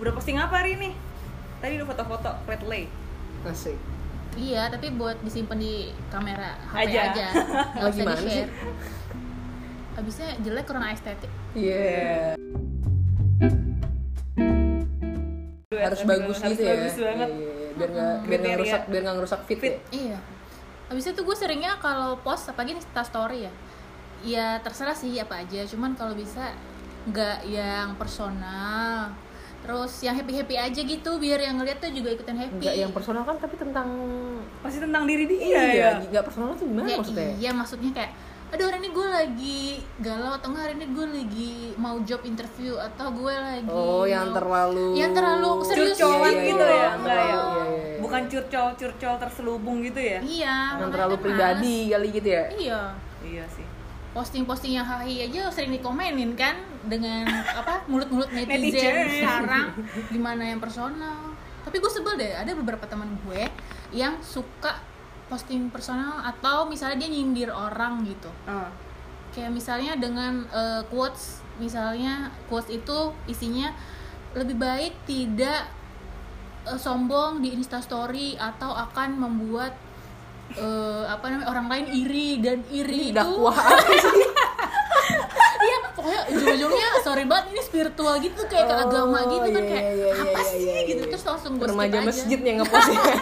udah posting apa hari ini tadi udah foto-foto Redley Asik. Iya, tapi buat disimpan di kamera HP Aja. aja. aja. Nggak Oh, usah gimana di-share. sih? Abisnya jelek kurang estetik. Iya. Duet Harus kan bagus juga, gitu harus ya. bagus banget Iya, iya, iya. biar nggak biar nggak Kriteria. rusak biar nggak rusak fit. Fit. ya. Iya. Abisnya tuh gue seringnya kalau post apalagi Insta story ya. Ya terserah sih apa aja, cuman kalau bisa nggak yang personal. Terus yang happy-happy aja gitu biar yang ngeliat tuh juga ikutan happy. Nggak yang personal kan tapi tentang pasti tentang diri dia iya, ya nggak personal tuh gimana Ya, maksudnya? iya maksudnya kayak aduh hari ini gue lagi galau atau enggak hari ini gue lagi mau job interview atau gue lagi Oh, yang iya. mau- terlalu yang terlalu serius curcolan Iya, iya, gitu ya enggak iya, ya terlalu, iya, iya, iya. bukan curcol curcol terselubung gitu ya iya yang makanya terlalu kan pribadi kali gitu ya. males. iya iya sih posting-posting yang hahi aja sering dikomenin kan dengan apa mulut-mulut netizen, Netizen. sekarang gimana yang personal tapi gue sebel deh ada beberapa teman gue yang suka posting personal atau misalnya dia nyindir orang gitu Ah. kayak misalnya dengan eh, quotes misalnya quotes itu isinya lebih baik tidak eh, sombong di instastory atau akan membuat eh, apa namanya orang lain iri dan Iya, iri itu dakwaan sih. iya pokoknya ujung-ujungnya sorry banget ini spiritual gitu kayak ke Oh, agama gitu kan iya, kayak iya, iya, apa iya, sih iya, gitu iya. terus langsung gue skip Remaja aja masjid yang ngepost ya.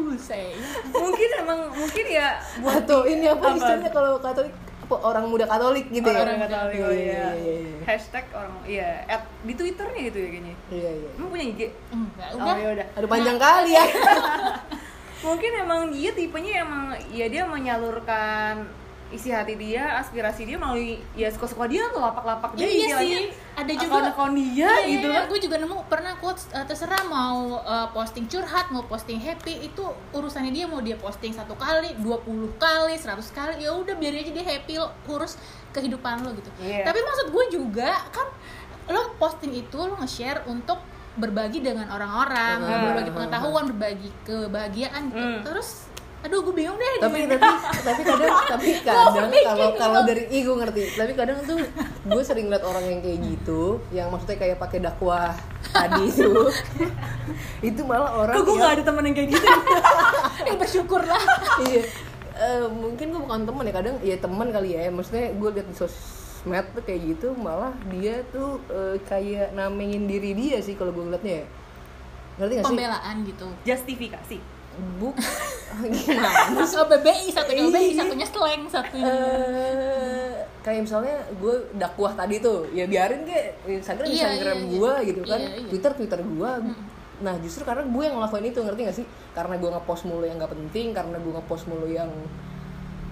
Buset. mungkin emang mungkin ya buat Atau ini apa Apa? istilahnya kalau Katolik apa orang muda Katolik gitu ya? orang Katolik oh Iya, iya iya, iya, iya. hashtag orang iya at di twitternya gitu ya kayaknya Iya, iya. emang punya IG enggak oh udah ya udah Aduh panjang kali ya. mungkin emang dia tipenya emang ya dia menyalurkan isi hati dia aspirasi dia melalui ya suka-suka dia atau lapak-lapak dia Iya sih. istilahnya Ada juga- Iya, akun-akun Oh, dia gitu kan gue juga nemu pernah quotes eh, terserah mau eh, posting curhat mau posting happy itu urusannya dia mau dia posting satu kali 20 kali 100 kali ya udah biar aja dia happy lo urus kehidupan lo gitu Iya. tapi maksud gue juga kan lo posting itu lo nge-share untuk berbagi dengan orang-orang Hmm. berbagi pengetahuan berbagi kebahagiaan gitu. Hmm. terus aduh gue bingung deh tapi Iya. tapi tapi kadang tapi kadang kalau kalau dari ih gue ngerti tapi kadang tuh gue sering liat orang yang kayak gitu yang maksudnya kayak pakai dakwah tadi itu itu malah orang kok gue yang- gak ada temen yang kayak gitu eh bersyukurlah iya Eh, mungkin gue bukan temen ya kadang ya temen kali ya maksudnya gue liat di sosmed tuh kayak gitu malah dia tuh eh, kayak namengin diri dia sih kalau gue liatnya ya. ngerti Iya gak sih pembelaan gitu justifikasi buk gimana Oh, BBI satunya Iya BBI satunya slang satunya eh kayak misalnya gue dakwah tadi tuh ya biarin kayak Instagram Iya, Instagram iya, iya. gue gitu kan Iya, Hmm. iya. Twitter Twitter gue nah justru karena gue yang ngelakuin itu ngerti gak sih karena gue ngepost mulu yang gak penting karena gue ngepost mulu yang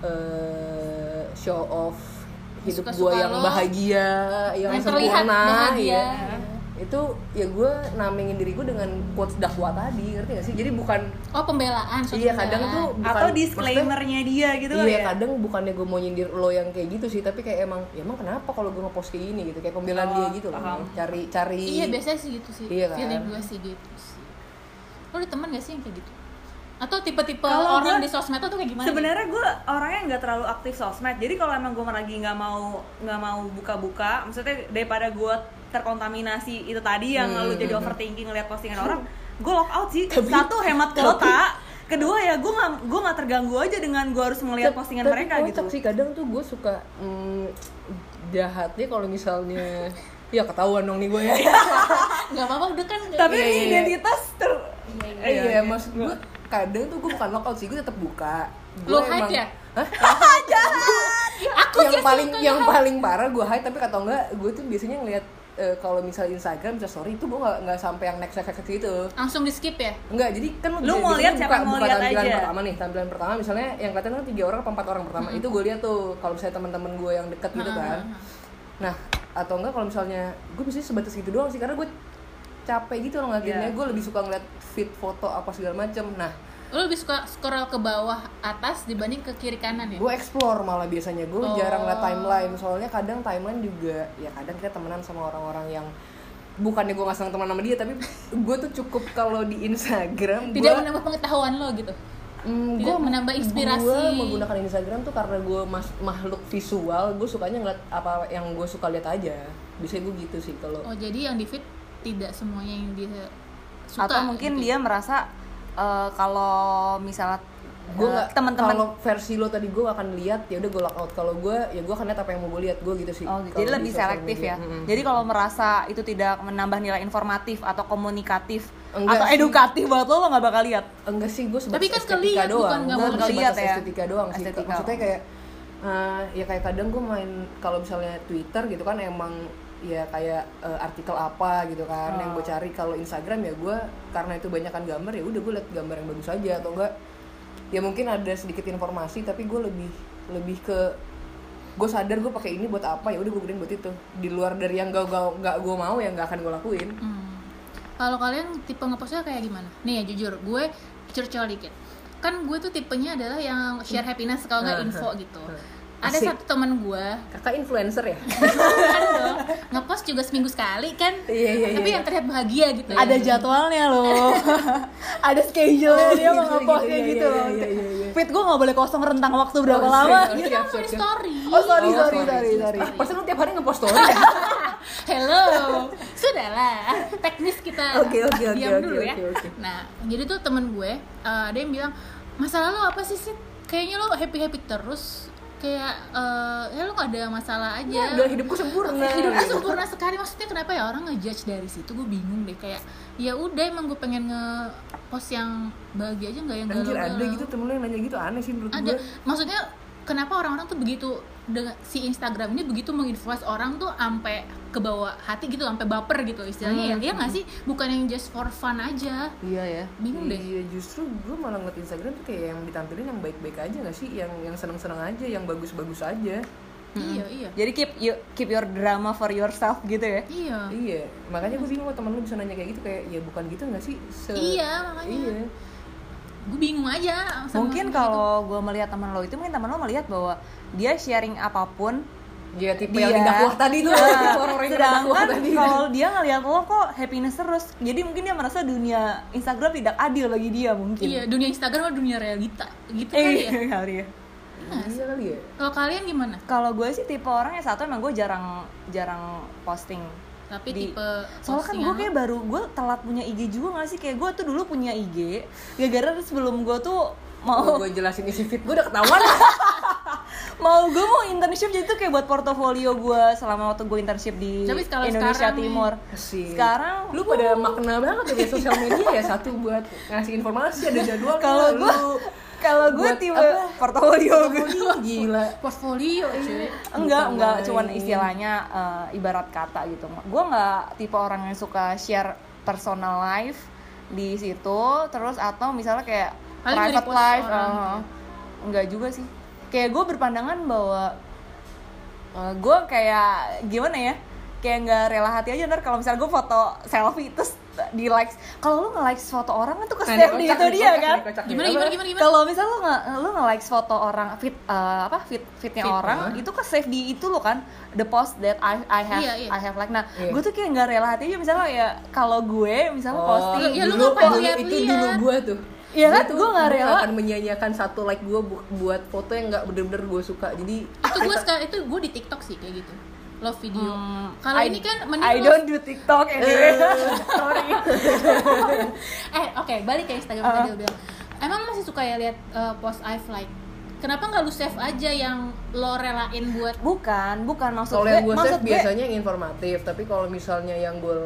eh show off hidup gue Suka-suka yang lo. bahagia yang Yang terlihat sempurna bahagia. ya itu ya gue namengin diri gue dengan quotes dakwah tadi ngerti gak sih jadi bukan Oh pembelaan, suatu iya kadang tuh pembelaan. bukan, atau maksudnya- disclaimernya dia gitu kali iya ya kadang bukannya gue mau nyindir lo yang kayak gitu sih tapi kayak emang ya emang kenapa kalau gue ngepost kayak gini gitu kayak pembelaan Oh, dia gitu loh paham. cari cari Iya biasanya sih gitu sih. Iya kan? Feeling gue sih gitu sih. Lo ada teman gak sih yang kayak gitu? Atau tipe-tipe Kalau orang gua- di sosmed tuh kayak gimana? sebenarnya gue orangnya nggak terlalu aktif sosmed jadi kalau emang gue lagi nggak mau nggak mau buka-buka maksudnya daripada gue terkontaminasi itu tadi yang Hmm, lalu jadi overthinking ngeliat postingan orang gue lock out sih satu hemat kuota kedua ya gue nggak gue nggak terganggu aja dengan gue harus ngeliat Tapi- postingan tapi mereka gitu kocak sih kadang tuh gue suka mm, jahatnya kalau misalnya ya ketahuan dong nih gue ya Gak apa-apa udah kan tapi Iya, iya, iya. identitas ter eh, iya, maksud gue kadang tuh gue bukan lockout sih gue tetap buka Lo gue hide ya? Hah? aku yang sih paling suka yang jahat. paling parah gue hide tapi atau enggak gue tuh biasanya ngeliat eh, kalau misalnya Instagram, misalnya story itu gue nggak nggak sampai yang next next next gitu. langsung di skip ya? Enggak, jadi kan Lu biasanya mau lihat buka- siapa yang mau buka lihat tampilan aja. pertama nih, tampilan pertama misalnya yang kelihatan kan tiga orang atau empat orang pertama. Itu gue lihat tuh kalau misalnya teman-teman gue yang deket gitu kan. Nah, atau enggak kalau misalnya gue biasanya sebatas gitu doang sih karena gue capek gitu loh ngeliatinnya. Iya. Gue lebih suka ngeliat feed foto apa segala macem. Nah, Lo lebih suka scroll ke bawah atas dibanding ke kiri kanan Iya. ya? gue explore malah biasanya gue jarang Oh. liat timeline soalnya kadang timeline juga ya kadang kita temenan sama orang-orang yang bukannya gue nggak seneng teman sama dia tapi gue tuh cukup kalau di Instagram Tidak gua- menambah pengetahuan lo gitu. Mm, Tidak menambah inspirasi. Gue menggunakan Instagram tuh karena gue makhluk visual, gue sukanya ngeliat apa yang gue suka lihat aja. Biasanya gue gitu sih kalau Oh jadi yang di feed tidak semuanya yang dia suka. atau mungkin gitu. dia merasa eh, kalau misalnya gue eh, nggak teman-teman kalau versi lo tadi gue akan lihat ya udah gue lock out kalau gue ya gue akan lihat apa yang mau gue lihat gue gitu sih Oh, Kalau jadi di lebih sosial selektif media. ya. Mm-mm. Jadi kalau merasa itu tidak menambah nilai informatif atau komunikatif Enggak atau sih. edukatif banget lo lo nggak bakal lihat. enggak sih gue sebatas Tapi kan estetika keliat, doang bukan nggak Gua mau sebatas lihat ya. estetika doang sih Estetika. maksudnya kayak eh, ya kayak kadang gue main kalau misalnya Twitter gitu kan emang ya kayak eh, artikel apa gitu kan yang gue cari kalau Instagram ya gue karena itu banyak kan gambar ya udah gue liat gambar yang bagus aja atau enggak ya mungkin ada sedikit informasi tapi gue lebih lebih ke gue sadar gue pakai ini buat apa ya udah gue gunain buat itu di luar dari yang gak gak, gue mau yang gak akan gue lakuin Hmm. Kalau kalian tipe ngepostnya kayak gimana? Nih ya jujur, gue curcol dikit. Kan gue tuh tipenya adalah yang share happiness kalau nggak info gitu. Ah, Ada Asik. satu teman gue, kakak influencer ya kan dong, ngepost juga seminggu sekali kan. Iya, iya, Tapi iya. yang terlihat bahagia gitu. Ada jadwalnya loh. ada schedule-nya dia mau ngepostnya Iya, iya, gitu iya, loh. iya, iya, iya. Fit gue nggak boleh kosong rentang waktu berapa Oh, lama. siap, Dia siap, kan siap, di siap. story. Iya, Oh sorry Oh, sorry sorry sorry, sorry. Ah, pasti lu tiap hari ngepost story ya? Hello, sudahlah teknis kita Oke, oke, oke, diam oke, dulu ya. oke, oke. Nah, jadi tuh temen gue eh, ada yang bilang masalah lo apa sih sih? Kayaknya lo happy happy terus, kayak eh, ya lo gak ada masalah aja. udah hidupku sempurna. Gitu. Hidupnya Iya. sempurna sekali maksudnya kenapa ya orang ngejudge dari situ gue bingung deh kayak ya udah emang gue pengen nge post yang bahagia aja nggak yang galau Anjir ada gitu temen lu yang nanya gitu aneh sih menurut ada gue. maksudnya kenapa orang-orang tuh begitu dengan si Instagram ini begitu menginfluence orang tuh sampai ke bawah hati gitu sampai baper gitu istilahnya Hmm. ya ya nggak sih bukan yang just for fun aja Iya ya. Bingung deh. Iya justru gue malah ngeliat Instagram tuh kayak yang ditampilin yang baik-baik aja gak sih? Yang yang seneng-seneng aja, yang bagus-bagus aja. Hmm. iya iya Jadi keep you, keep your drama for yourself gitu ya. iya Iya. Makanya gue bingung kok temen lu bisa nanya kayak gitu kayak ya bukan gitu gak sih? Se- Iya, makanya. Iya. gue bingung aja sama Mungkin Oh, gitu. kalau gue melihat teman lo itu mungkin teman lo melihat bahwa dia sharing apapun Dia tipe dia yang tidak kuah tadi tuh Iya. orang-orang yang tidak kuah sedangkan tadi. kalau dia ngelihat lo kok happiness terus jadi mungkin dia merasa dunia Instagram tidak adil bagi dia mungkin iya dunia Instagram adalah dunia realita gitu eh kali ya kali ya Iya kali ya. kalau kalian gimana kalau gue sih tipe orang yang satu emang gue jarang jarang posting tapi Di- tipe soalnya kan gue postingan kayak baru gue telat punya IG juga gak sih kayak gue tuh dulu punya IG gara-gara sebelum gue tuh mau Gue jelasin isi fit gue udah ketahuan. mau gue mau internship jadi tuh kayak buat portofolio gue selama waktu gue internship di Tapi kalau Indonesia sekarang nih- Timur Asik. sekarang lu pada makna banget ya punya sosial media ya satu buat ngasih informasi ada jadwal kalau lu gue kalau gue buat tipe apa? portofolio gue Ih, gila Gitu iya. portfolio Iya. cuy enggak Bukan enggak lain. cuman istilahnya eh, ibarat kata gitu gue nggak tipe orang yang suka share personal life di situ terus atau misalnya kayak Paling nggak private di-post life orang eh, gitu. enggak juga sih kayak gue berpandangan bahwa gue kayak gimana ya kayak nggak rela hati aja ntar kalau misalnya gue foto selfie terus di likes kalau lu nge likes foto orang kan tuh ke Nah, save ini di kocak itu nih, dia kocak kan nih, kocak nih. gimana Apa? gimana gimana gimana kalau misal lu nge lu nge likes foto orang fit eh, apa fit fitnya Fit, uh-huh. orang huh? itu ke save di itu lo kan the post that I I have Iya, iya. I have like nah Iya. gue tuh kayak nggak rela hati aja misalnya ya kalau gue misalnya posting Iya, lu dulu, ngapain dulu liat-liat? itu dulu gue tuh Iya kan? tuh- Gua nggak gua rela. akan menyanyiakan satu like gue buat foto yang nggak bener-bener gue suka jadi itu gue sekarang itu gue di TikTok sih kayak gitu love video hmm, kalau I- ini kan I mending lo- don't do TikTok anyway. sorry eh oke balik ke Instagram Uh-uh. tadi lo bilang emang masih suka ya lihat uh, post I've like kenapa nggak lu save aja yang lo relain buat bukan bukan maksud kalau gue yang gue maksud save biasanya yang informatif tapi kalau misalnya yang gue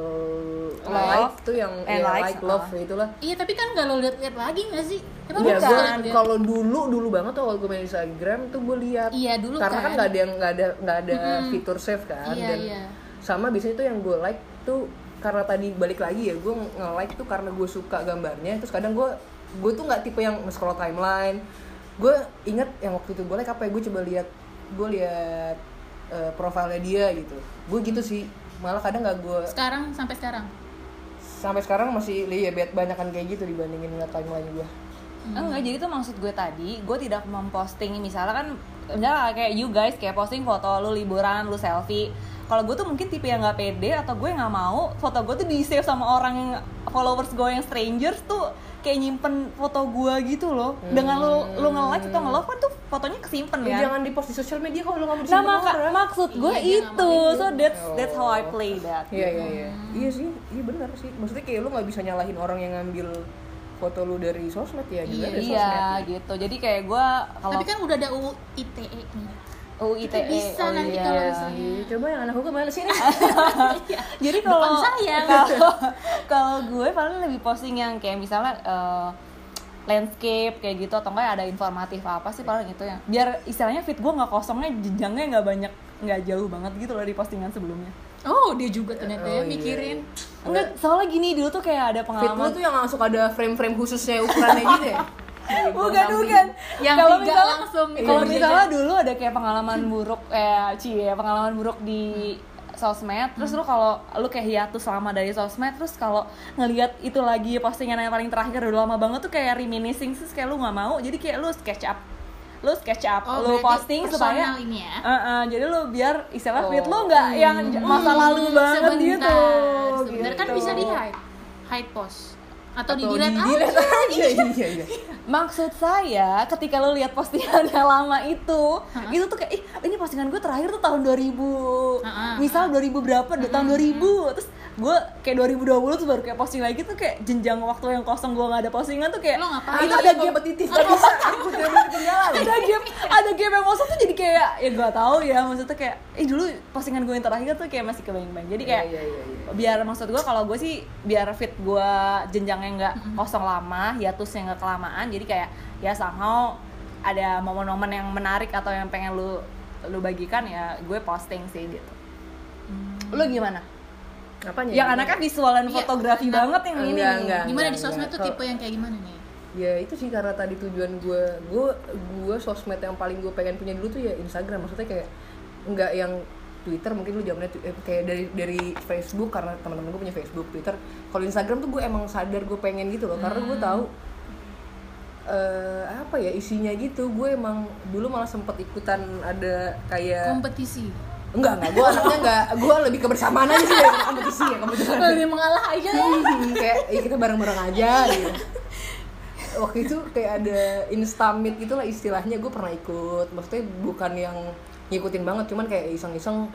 like tuh yang and ya, likes, like love ah. itulah iya tapi kan nggak lo lihat-lihat lagi nggak ya? sih emang Iya, lu suka kan gua liat-liat? kalau dulu dulu banget tuh kalau gue main Instagram tuh gue lihat. Iya, dulu Karena kan. kan nggak ada yang nggak ada nggak ada fitur save kan. Iya, Dan iya. sama biasanya tuh yang gue like tuh karena tadi balik lagi ya gue nge like tuh karena gue suka gambarnya. Terus kadang gue gue tuh nggak tipe yang scroll timeline. Gue inget yang waktu itu gue like apa ya gue coba lihat gue lihat eh, profilnya dia gitu. Gue gitu sih malah kadang nggak gue sekarang sampai sekarang sampai sekarang masih lihat banyakan kayak gitu dibandingin ngeliat timeline gue. Enggak, jadi itu maksud gue tadi, gue tidak memposting misalnya kan misalnya kayak you guys kayak posting foto lu liburan, lu selfie. kalau gue tuh mungkin tipe yang nggak pede atau gue nggak mau foto gue tuh di save sama orang yang followers gue yang strangers tuh kayak nyimpen foto gue gitu loh dengan lu lu nge like atau nge love kan tuh fotonya kesimpen Ya, kan jangan di post di sosial media kalau lu nggak mau nah disimpan maka- orang. maksud gue Iya, jangan itu so that's that's how I Oh. play that Iya iya iya. Iya sih, iya benar sih. Maksudnya kayak lu nggak bisa nyalahin orang yang ngambil foto lu dari sosmed ya juga Iya, dari Iya sosmed. gitu. Jadi kayak gue kalau Tapi kan udah ada UU ITE nih. UITE Kita E bisa oh nanti iya. kalau misalnya. Coba yang anak hukum mana sini? Jadi kalau Depan saya. kalau- kalau gue paling lebih posting yang kayak misalnya eh, landscape kayak gitu atau enggak ada informatif apa sih paling itu yang biar istilahnya fit gue nggak kosongnya jenjangnya nggak banyak nggak jauh banget gitu loh di postingan sebelumnya Oh, dia juga ternyata Oh, ya iya, mikirin. enggak soalnya gini dulu tuh kayak ada Fit lu pengalaman tuh yang langsung ada frame-frame khususnya ukurannya gitu ya? bukan bukan Yang Kalau tiga misalnya- langsung gitu. kalau dikerjakan. misalnya dulu ada kayak pengalaman buruk eh cie pengalaman buruk di sosmed terus lu kalau lu kayak hiatus lama dari sosmed terus kalau ngelihat itu lagi postingan yang paling terakhir udah lama banget tuh kayak reminiscing terus kayak lu nggak mau jadi kayak lu sketch up lu sketch up Oh, lu berarti posting supaya personal ini ya? Eh, eh, jadi lu biar istilah Oh. fit lu nggak yang j- Hmm, masa lalu banget gitu Hmm, Sebentar kan gitu. bisa di hide. Hide post atau, di delete aja. didilat aja. Iya iya. Maksud saya, ketika lo lihat postingan yang lama itu, itu tuh kayak, ih ini postingan gue terakhir tuh tahun 2000, Ha-ha. misal 2000 berapa, tahun 2000, terus gue kayak 2020 terus baru kayak posting lagi tuh kayak jenjang waktu yang kosong gue nggak ada postingan tuh kayak, Lo ngapain? itu ada gap, kompetitif gak bisa aku jadi ketinggalan. ada gap, ada gap yang kosong tuh jadi kayak, ya gue tahu ya, maksudnya kayak, eh dulu postingan gue yang terakhir tuh kayak masih kebayang-bayang, jadi Iya kayak iya iya. iya. biar maksud gue kalau gue sih biar fit gue jenjangnya nggak kosong lama hiatusnya nggak kelamaan jadi kayak ya somehow ada momen-momen yang menarik atau yang pengen lu lu bagikan ya gue posting sih gitu lu gimana Apanya? ya? yang anaknya visual dan Iya, fotografi enak. banget yang ini Enggak, enggak. Gimana di Enggak, sosmed enggak. tuh tipe yang kayak gimana nih? ya itu sih karena tadi tujuan gue gue gue sosmed yang paling gue pengen punya dulu tuh ya Instagram maksudnya kayak nggak yang Twitter mungkin lu zamannya tu- eh, kayak dari dari Facebook karena teman-teman gue punya Facebook Twitter kalau Instagram tuh gue emang sadar gue pengen gitu loh karena gue tahu eh apa ya isinya gitu gue emang dulu malah sempet ikutan ada kayak Kompetisi. enggak enggak gue anaknya enggak gue lebih kebersamaan aja sih dari kompetisi ya kebetulan Lebih mengalah aja ya. Hmm, kayak "Ih, kita bareng-bareng aja gitu. Waktu itu kayak ada instamit gitu lah istilahnya gue pernah ikut. Maksudnya bukan yang ngikutin banget, cuman kayak iseng-iseng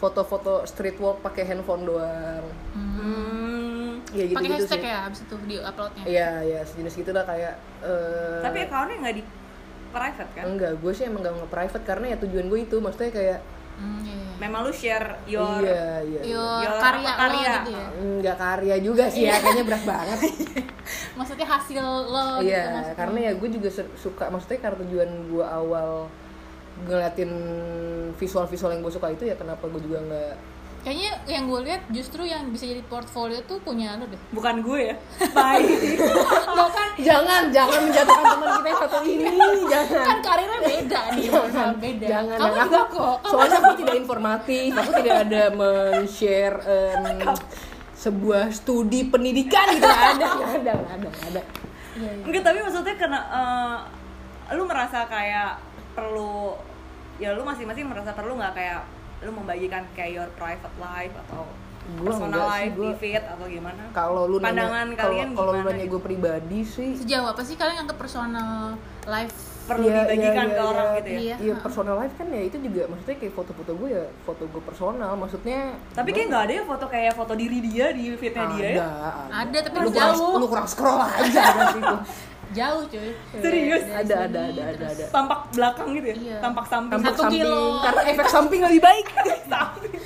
foto-foto street walk pakai handphone doang. Hmm, Ya Pakai gitu-gitu hashtag sih. ya abis itu di uploadnya. Iya, ya sejenis gitu lah kayak eh, tapi accountnya nggak di private kan enggak, gue sih emang gak nge-private karena ya tujuan gue itu maksudnya kayak Hmm, iya, iya. memang lu share your iya, iya. Your Iya. Your karya apa, karya. lo gitu ya. Enggak karya juga sih ya, kayaknya berat banget. Maksudnya hasil lo gitu Iya, maksudnya. karena ya gue juga ser- suka maksudnya karena tujuan gue awal ngeliatin visual-visual yang gue suka itu ya kenapa gue juga nggak Kayaknya yang gue lihat justru yang bisa jadi portfolio tuh punya lo deh. bukan gue ya baik Lo kan jangan jangan menjatuhkan teman kita yang satu ini jangan kan karirnya beda nih, masalah beda. jangan Kamu jangan. juga Aku- kok. soalnya aku tidak informatif aku tidak ada men-share em, sebuah studi pendidikan gitu nggak ada nggak ada nggak ada nggak ada Iya, iya. Enggak, tapi maksudnya karena eh, lu merasa kayak perlu ya lu masing-masing merasa perlu nggak kayak lu membagikan kayak your private life atau Gua personal enggak sih, life di gua- feed atau gimana? kalau lu nanya- pandangan kalau- kalian kalau lu gimana gitu? nanya gitu? gue pribadi sih Sejauh apa sih kalian anggap personal life perlu Iya, dibagikan iya, ke iya, orang gitu ya. Iya. Iya personal life kan ya itu juga maksudnya kayak foto-foto gue ya foto gue personal maksudnya Tapi kayak nggak ada ya foto kayak foto diri dia di feednya dia ya. ada, Ada, tapi lu harus kurang, jauh. Iya, lu kurang scroll aja ada situ. jauh cuy Serius? Iya, Ada dari ada sini, ada ada terus ada. Tampak belakang gitu ya. Iya. Tampak samping. Tampak Satu samping kilo. Eh, karena efek samping lebih baik. samping.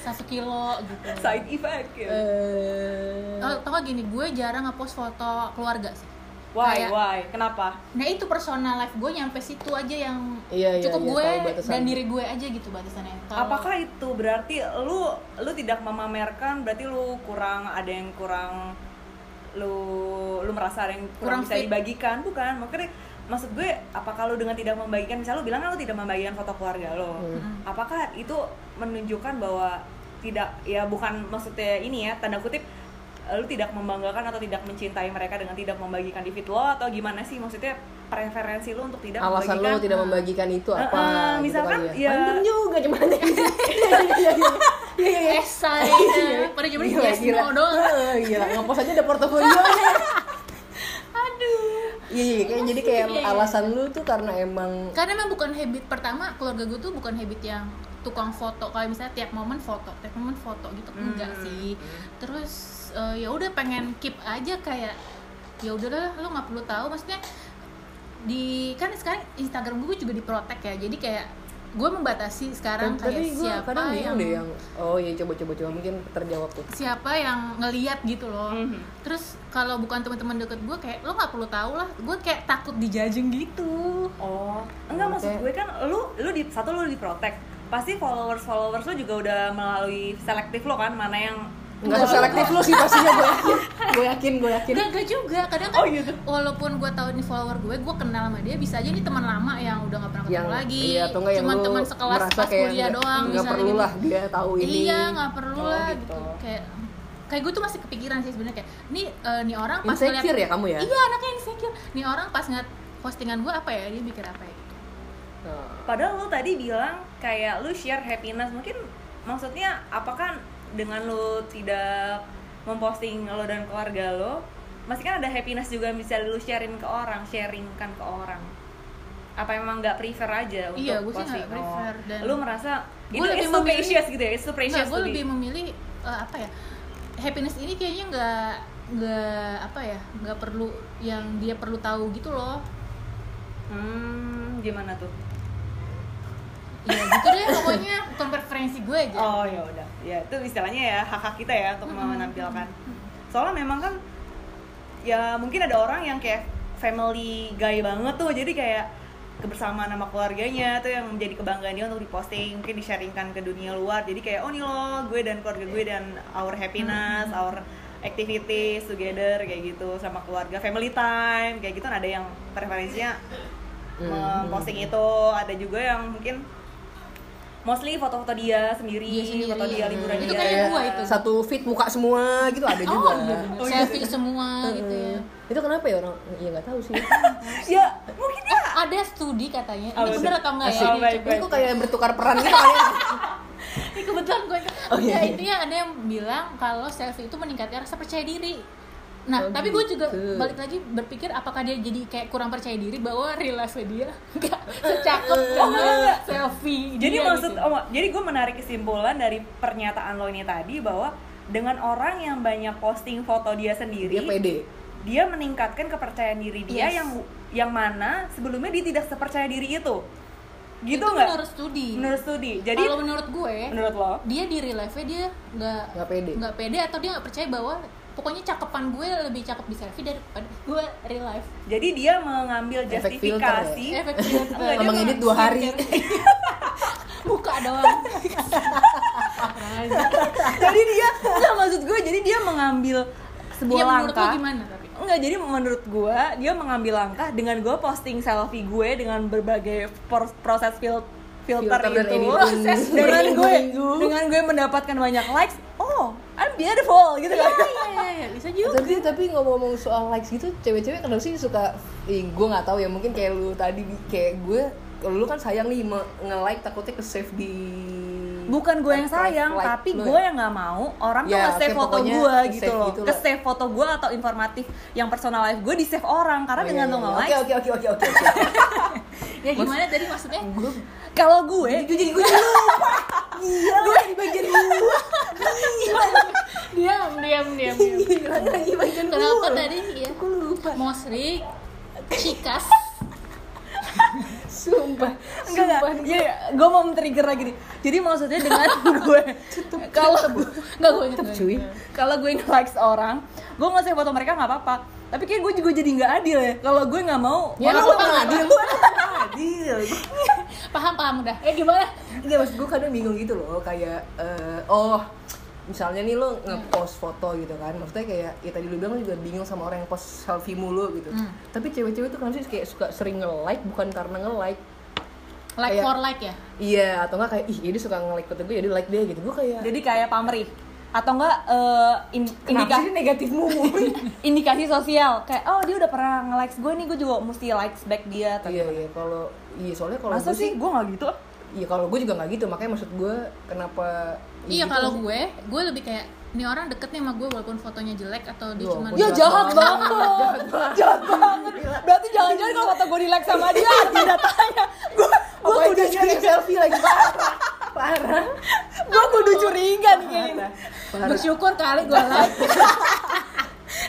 satu kilo gitu Side effect ya. Eh, Oh, tau gak gini gue jarang ngepost foto keluarga sih why, kayak- why? Kenapa? nah itu personal life gue nyampe situ aja yang Iya, iya, cukup iya, gue tahu batasan. dan diri gue aja gitu batasannya Kalau- Apakah itu berarti lu lu tidak memamerkan berarti lu kurang ada yang kurang lu lu merasa ada yang Kurang kurang, bisa fit. dibagikan bukan makanya maksud gue apakah lu dengan tidak membagikan misal lu bilang kan lu tidak membagikan foto keluarga lo apakah itu menunjukkan bahwa tidak ya bukan maksudnya ini ya tanda kutip lu tidak membanggakan atau tidak mencintai mereka dengan tidak membagikan di feed lo atau gimana sih maksudnya preferensi lu untuk tidak alasan membagikan lo tidak membagikan itu gitu Eh, apa? eh, gitu misalkan ya- kali iya, Panjang juga cuman. iya. ada Eh, Iya. pada zaman Gila, yes gila. no doang Heeh, Gila, ngepost aja ada portofolionya. aduh Iya, iya, kayak jadi kayak Iya, iya. alasan lu tuh karena emang karena emang bukan habit pertama keluarga gue tuh bukan habit yang tukang foto kalau misalnya tiap momen foto tiap momen foto gitu Hmm, enggak sih terus eh, ya udah pengen keep aja kayak ya udahlah lo nggak perlu tahu maksudnya di kan sekarang Instagram gue juga diprotek ya jadi kayak gue membatasi sekarang kayak tapi gue siapa Kan kadang bingung yang deh yang oh iya coba-coba coba mungkin terjawab tuh. siapa yang ngeliat gitu loh terus kalau bukan teman-teman deket gue kayak lo nggak perlu tahu lah gue kayak takut dijajeng gitu Oh, enggak Oke. maksud gue kan lu lu di satu lu di protect. Pasti followers followers lu juga udah melalui selektif lo kan mana yang Enggak selektif lu sih pastinya gue yakin. Gue yakin, gue yakin. Gak, gak juga, kadang kan Oh, gitu. walaupun gue tau ini follower gue, gue kenal sama dia bisa aja ini teman lama yang udah gak pernah ketemu Yang lagi iya atau enggak yang Cuman lu teman sekelas merasa pas kayak kuliah nggak- doang nggak misalnya perlu gitu. lah dia tahu ini. Iya, gak perlu Oh, lah gitu. gitu. Kayak kayak gue tuh masih kepikiran sih sebenarnya kayak nih eh, nih orang pas Insecure ya kamu ya? Iya, anaknya insecure. Nih orang pas ngeliat postingan gue apa ya, dia mikir apa ya gitu. Nah. Padahal lu tadi bilang kayak lu share happiness mungkin maksudnya apakah dengan lu tidak memposting lo dan keluarga lo masih kan ada happiness juga yang bisa lu sharein ke orang, sharingkan ke orang. Apa emang nggak prefer aja untuk Iya, gue sih posting? nggak prefer Oh. dan- lu merasa Gue itu lebih it's too memilih- precious gitu ya, it's too precious Enggak, gue to be- lebih memilih eh, apa ya? Happiness ini kayaknya nggak nggak apa ya? nggak perlu yang dia perlu tahu gitu loh. Hmm, gimana tuh? Iya gitu deh pokoknya bukan preferensi gue aja. Oh ya udah, ya itu istilahnya ya hak hak kita ya untuk menampilkan. Soalnya memang kan ya mungkin ada orang yang kayak family guy banget tuh, jadi kayak kebersamaan sama keluarganya tuh yang menjadi kebanggaan dia untuk diposting, mungkin disharingkan ke dunia luar. Jadi kayak oh nih lo, gue dan keluarga gue dan our happiness, our activities together kayak gitu sama keluarga, family time kayak gitu. Nah, ada yang preferensinya memposting itu, ada juga yang mungkin mostly foto-foto dia sendiri, Dia sendiri. foto dia liburan dia. Itu kayak Kayak gua itu. Satu fit muka semua gitu ada juga. iya bener. Oh, iya. Selfie semua gitu ya. Itu kenapa ya orang? Iya nggak tahu sih. ya mungkin ya Ada studi katanya. Oh, Ini bener atau enggak ya? Asik. Ini baik, coba- Ini kok kayak bertukar peran gitu kali ya? Ini kebetulan gue. Oh, iya, Ya, iya. intinya ada yang bilang kalau selfie itu meningkatkan rasa percaya diri. Nah, Oh, tapi gue juga gitu. balik lagi berpikir apakah dia jadi kayak kurang percaya diri bahwa relasi dia enggak secakep sama selfie. jadi dia maksud gitu. oh, jadi gue menarik kesimpulan dari pernyataan lo ini tadi bahwa dengan orang yang banyak posting foto dia sendiri Dia pede. dia meningkatkan kepercayaan diri dia Yes. yang yang mana sebelumnya dia tidak sepercaya diri itu gitu itu nggak menurut studi. menurut studi jadi Kalau menurut gue, menurut lo dia di real life dia nggak Nggak pede. nggak pede atau dia nggak percaya bahwa pokoknya cakepan gue lebih cakep di selfie daripada gue real life jadi dia mengambil Efek filter ya. justifikasi efek Enggak, dia Sama ngedit dua hari. Iya, buka doang jadi dia nggak maksud gue jadi dia mengambil sebuah Iya, menurut lo langkah gimana tapi Enggak, jadi menurut gue, dia mengambil langkah dengan gue posting selfie gue dengan berbagai por- proses fil- filter, itu. Filter dan editing. Proses dengan gue, minggu. dengan gue mendapatkan banyak likes, oh, I'm beautiful gitu kan. iya iya bisa juga tapi tapi ngomong-ngomong soal likes gitu cewek-cewek kenapa sih suka eh, gue nggak tahu ya mungkin kayak lu tadi kayak gue kalau lu kan sayang nih me- nge-like takutnya ke save di Bukan gue yang Like- sayang, like tapi lu gue ya. yang nggak mau orang Ya, tuh nge-save kayak foto pokoknya gue nge-save gitu loh. gitu Ke loh. save foto gue atau informatif yang personal life gue di-save orang karena Oh, iya, dengan iya, lo iya. nge-like, oke oke oke oke oke ya gimana tadi maksudnya gue kalau gue gue jadi gue jadi lupa iya gue di bagian gue diam diam diam diam lagi bagian gue kenapa tadi ya gue lupa mosri cikas sumpah Enggak, enggak. Iya, gue mau men-trigger lagi nih. Jadi maksudnya dengan gue kalau nggak gue inget tetep cuy kalau gue nge-likes orang, gue ngasih foto mereka nggak apa-apa. Tapi kayak gue juga jadi nggak adil ya. Kalau gue nggak mau, ya Orang lu suka pernah adil gue adil paham paham udah eh gimana Enggak, maksud gue kadang bingung gitu loh, kayak eh, oh misalnya nih lo ngepost foto gitu kan, maksudnya kayak ya tadi lu bilang lo juga bingung sama orang yang post selfie mulu gitu. Hmm. Tapi cewek-cewek tuh kan sih kayak suka sering nge-like bukan karena nge-like, like Kayak- for like ya iya atau enggak kayak ih ini suka nge-like foto gue jadi like deh gitu. Gue kayak jadi kayak pamrih atau enggak eh, in- kenapa indikasi sih negatif mulu? Iya, indikasi sosial kayak oh dia udah pernah nge-likes gue nih, gue juga mesti likes back dia. atau iya gimana. iya kalau iya soalnya kalau Masa gue sih sih gue nggak gitu? ya kalau gue juga nggak gitu makanya maksud gue kenapa gitu? Iya kalau gue, gue lebih kayak ini orang deket nih sama gue walaupun fotonya jelek atau dia Loh, cuma ya jahat banget jahat banget. jahat banget. Berarti jangan-jangan kalau kata gue di like sama dia, tidak tanya. Gue gue gue kudu udah jadi curiga, selfie lagi parah parah gue kudu curiga nih kayaknya. parah, parah. bersyukur kali gue like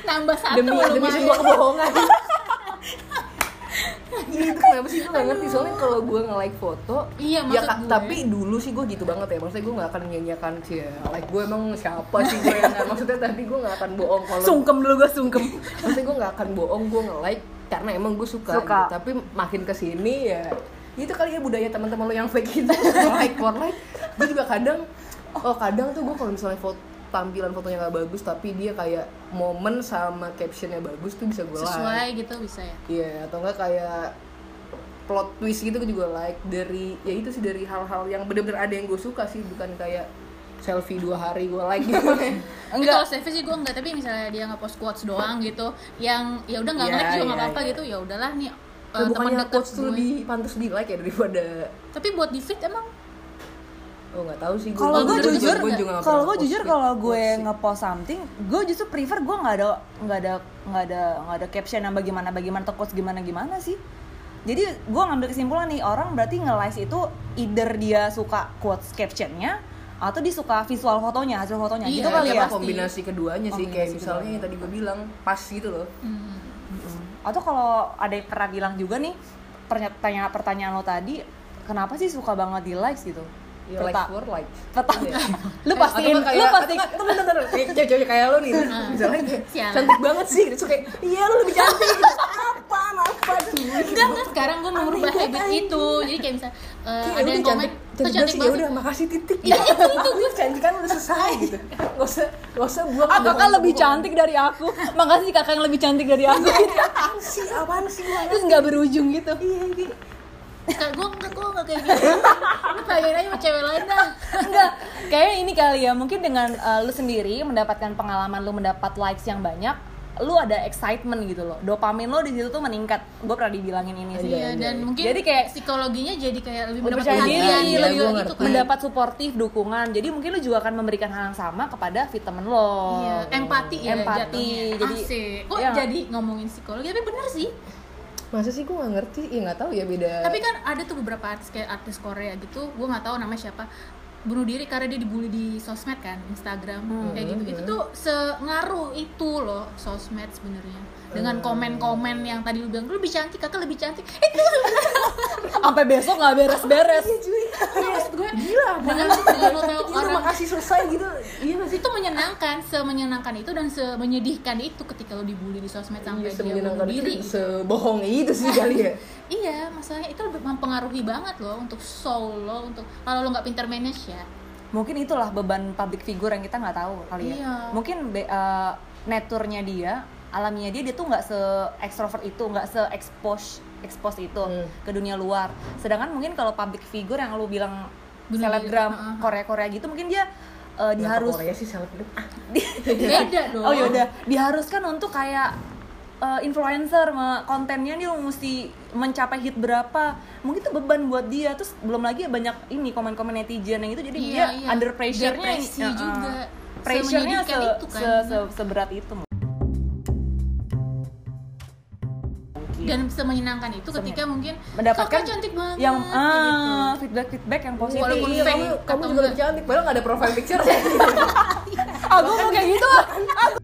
nambah satu demi demi lumayan. sebuah kebohongan Iya, itu kenapa sih gue gak ngerti soalnya kalau gue nge-like foto ya, Iya, maksud Kak, gue. tapi dulu sih gue gitu banget ya maksudnya gue gak akan nyanyikan sih ya like gue emang siapa sih gue Nah, maksudnya tapi gue gak akan bohong kalau Sungkem dulu gue sungkem. maksudnya gue gak akan bohong gue nge-like karena emang gue suka, Suka. gitu. tapi makin kesini ya itu kali ya budaya teman-teman lo yang fake itu like for like gue juga kadang oh kadang tuh gue kalau misalnya foto tampilan fotonya gak bagus tapi dia kayak momen sama captionnya bagus tuh bisa gue like sesuai gitu bisa ya Iya, atau enggak kayak plot twist gitu gue juga like dari ya itu sih dari hal-hal yang bener-bener ada yang gue suka sih bukan kayak selfie dua hari gue like gitu Tapi kalau selfie sih gue enggak tapi misalnya dia nggak post quotes doang gitu yang ya udah nggak Iya, nge like juga nggak iya, apa-apa iya. gitu ya udahlah nih eh, Nah, teman bukannya dekat quotes gue tuh lebih pantas di like ya daripada tapi buat di feed emang oh nggak tahu sih Kalau gue jujur- kalau gue jujur kalau gue Iya, ngepost something gue justru prefer gue nggak ada nggak ada nggak ada nggak ada caption yang bagaimana bagaimana atau quotes gimana gimana sih jadi gue ngambil kesimpulan nih orang berarti nge-like itu either dia suka quotes captionnya atau dia suka visual fotonya hasil fotonya Iya, gitu kali iya, ya pasti. kombinasi keduanya Kombinasi sih kayak keduanya. misalnya yang tadi gue bilang pas gitu loh hmm, atau kalau ada yang pernah bilang juga nih pertanyaan pertanyaan lo tadi kenapa sih suka banget di likes gitu ya, Perta- like for like pertama Iya. lu pastiin Atau kan lu kayak- pasti atau kan- Tunggu, tunggu, tunggu. Kayak cewek-cewek kayak lo nih Misalnya kayak, Sialan. Cantik banget sih Terus kayak Iya lo lebih cantik Apaan apaan enggak enggak sekarang gue merubah habit itu jadi kayak misal eh, Kayak ada udah yang komen tuh cantik cantik sih, ya banget yaudah makasih titik Iya, itu, itu, Aku cantik kan udah selesai gitu Gak usah Gak usah buang Apakah kebohongan- lebih cantik dari aku? Makasih kakak yang lebih cantik dari aku. Apaan sih Apaan sih Iya, gua Terus nggak berujung gitu. Kayak gue enggak gue enggak kayak gitu lu tanyain aja sama cewek lain dah enggak kayaknya ini kali ya mungkin dengan uh, lu sendiri mendapatkan pengalaman lu mendapat likes yang banyak lu ada excitement gitu loh dopamin lo di situ tuh meningkat gue pernah dibilangin ini sih Iya, dan mungkin Jadi kayak- psikologinya jadi kayak lebih Lebih mendapat percaya diri, perhatian iya, lebih gua itu ngerti. kan. mendapat suportif dukungan jadi mungkin lu juga akan memberikan hal yang sama kepada fit temen lo Iya, empati ya Empati, jatuhnya. jadi- Asik. Kok Iya. jadi ngomongin psikologi tapi bener sih. Masa sih gue gak ngerti Ya gak tahu ya beda Tapi kan ada tuh beberapa artis kayak artis Korea gitu, gue nggak tahu namanya siapa bunuh diri karena dia dibully di sosmed kan, Instagram Hmm, kayak gitu. Itu tuh sengaruh itu loh sosmed sebenarnya. Hmm. Dengan komen-komen yang tadi lu bilang lu lebih cantik, kakak lebih cantik. Eh, Sampai besok nggak beres-beres. Iya, maksud gue Gila dengan apaan dengan lu tahu Iya orang makasih selesai gitu Iya gak sih itu menyenangkan, semenyenangkan itu dan semenyedihkan itu ketika lo dibully di sosmed sampai Iya dia bunuh semenyenangkan diri. itu Sebohong itu sih kali ya Iya, masalahnya itu lebih mempengaruhi banget loh untuk soul lo, untuk kalau lo nggak pinter manage ya. mungkin itulah beban public figure yang kita nggak tahu kali ya Iya. mungkin be, eh, naturnya dia alaminya dia dia tuh nggak se extrovert itu nggak se expose expose itu Hmm. ke dunia luar sedangkan mungkin kalau public figure yang lu bilang Bunuh diri, selebgram ah. Korea Korea gitu mungkin dia eh, Kenapa diharus Korea sih selebgram Ah, Beda dong. oh yaudah diharuskan untuk kayak eh, influencer me- kontennya dia mesti mencapai hit berapa mungkin itu beban buat dia terus belum lagi banyak ini komen-komen netizen yang itu jadi Iya, dia iya. under pressure-nya ini- Depresi Heeh. juga. pressure-nya se, Semenyedihkan itu kan. se- se- seberat itu dan semenyenangkan itu ketika mungkin Iya. mendapatkan "Kakak cantik banget yang kayak gitu. ah, feedback feedback yang positif Walaupun Iya fake kamu, atau kamu juga lebih enggak. cantik Padahal gak ada profile picture Aku mau kayak gitu. ah. Aku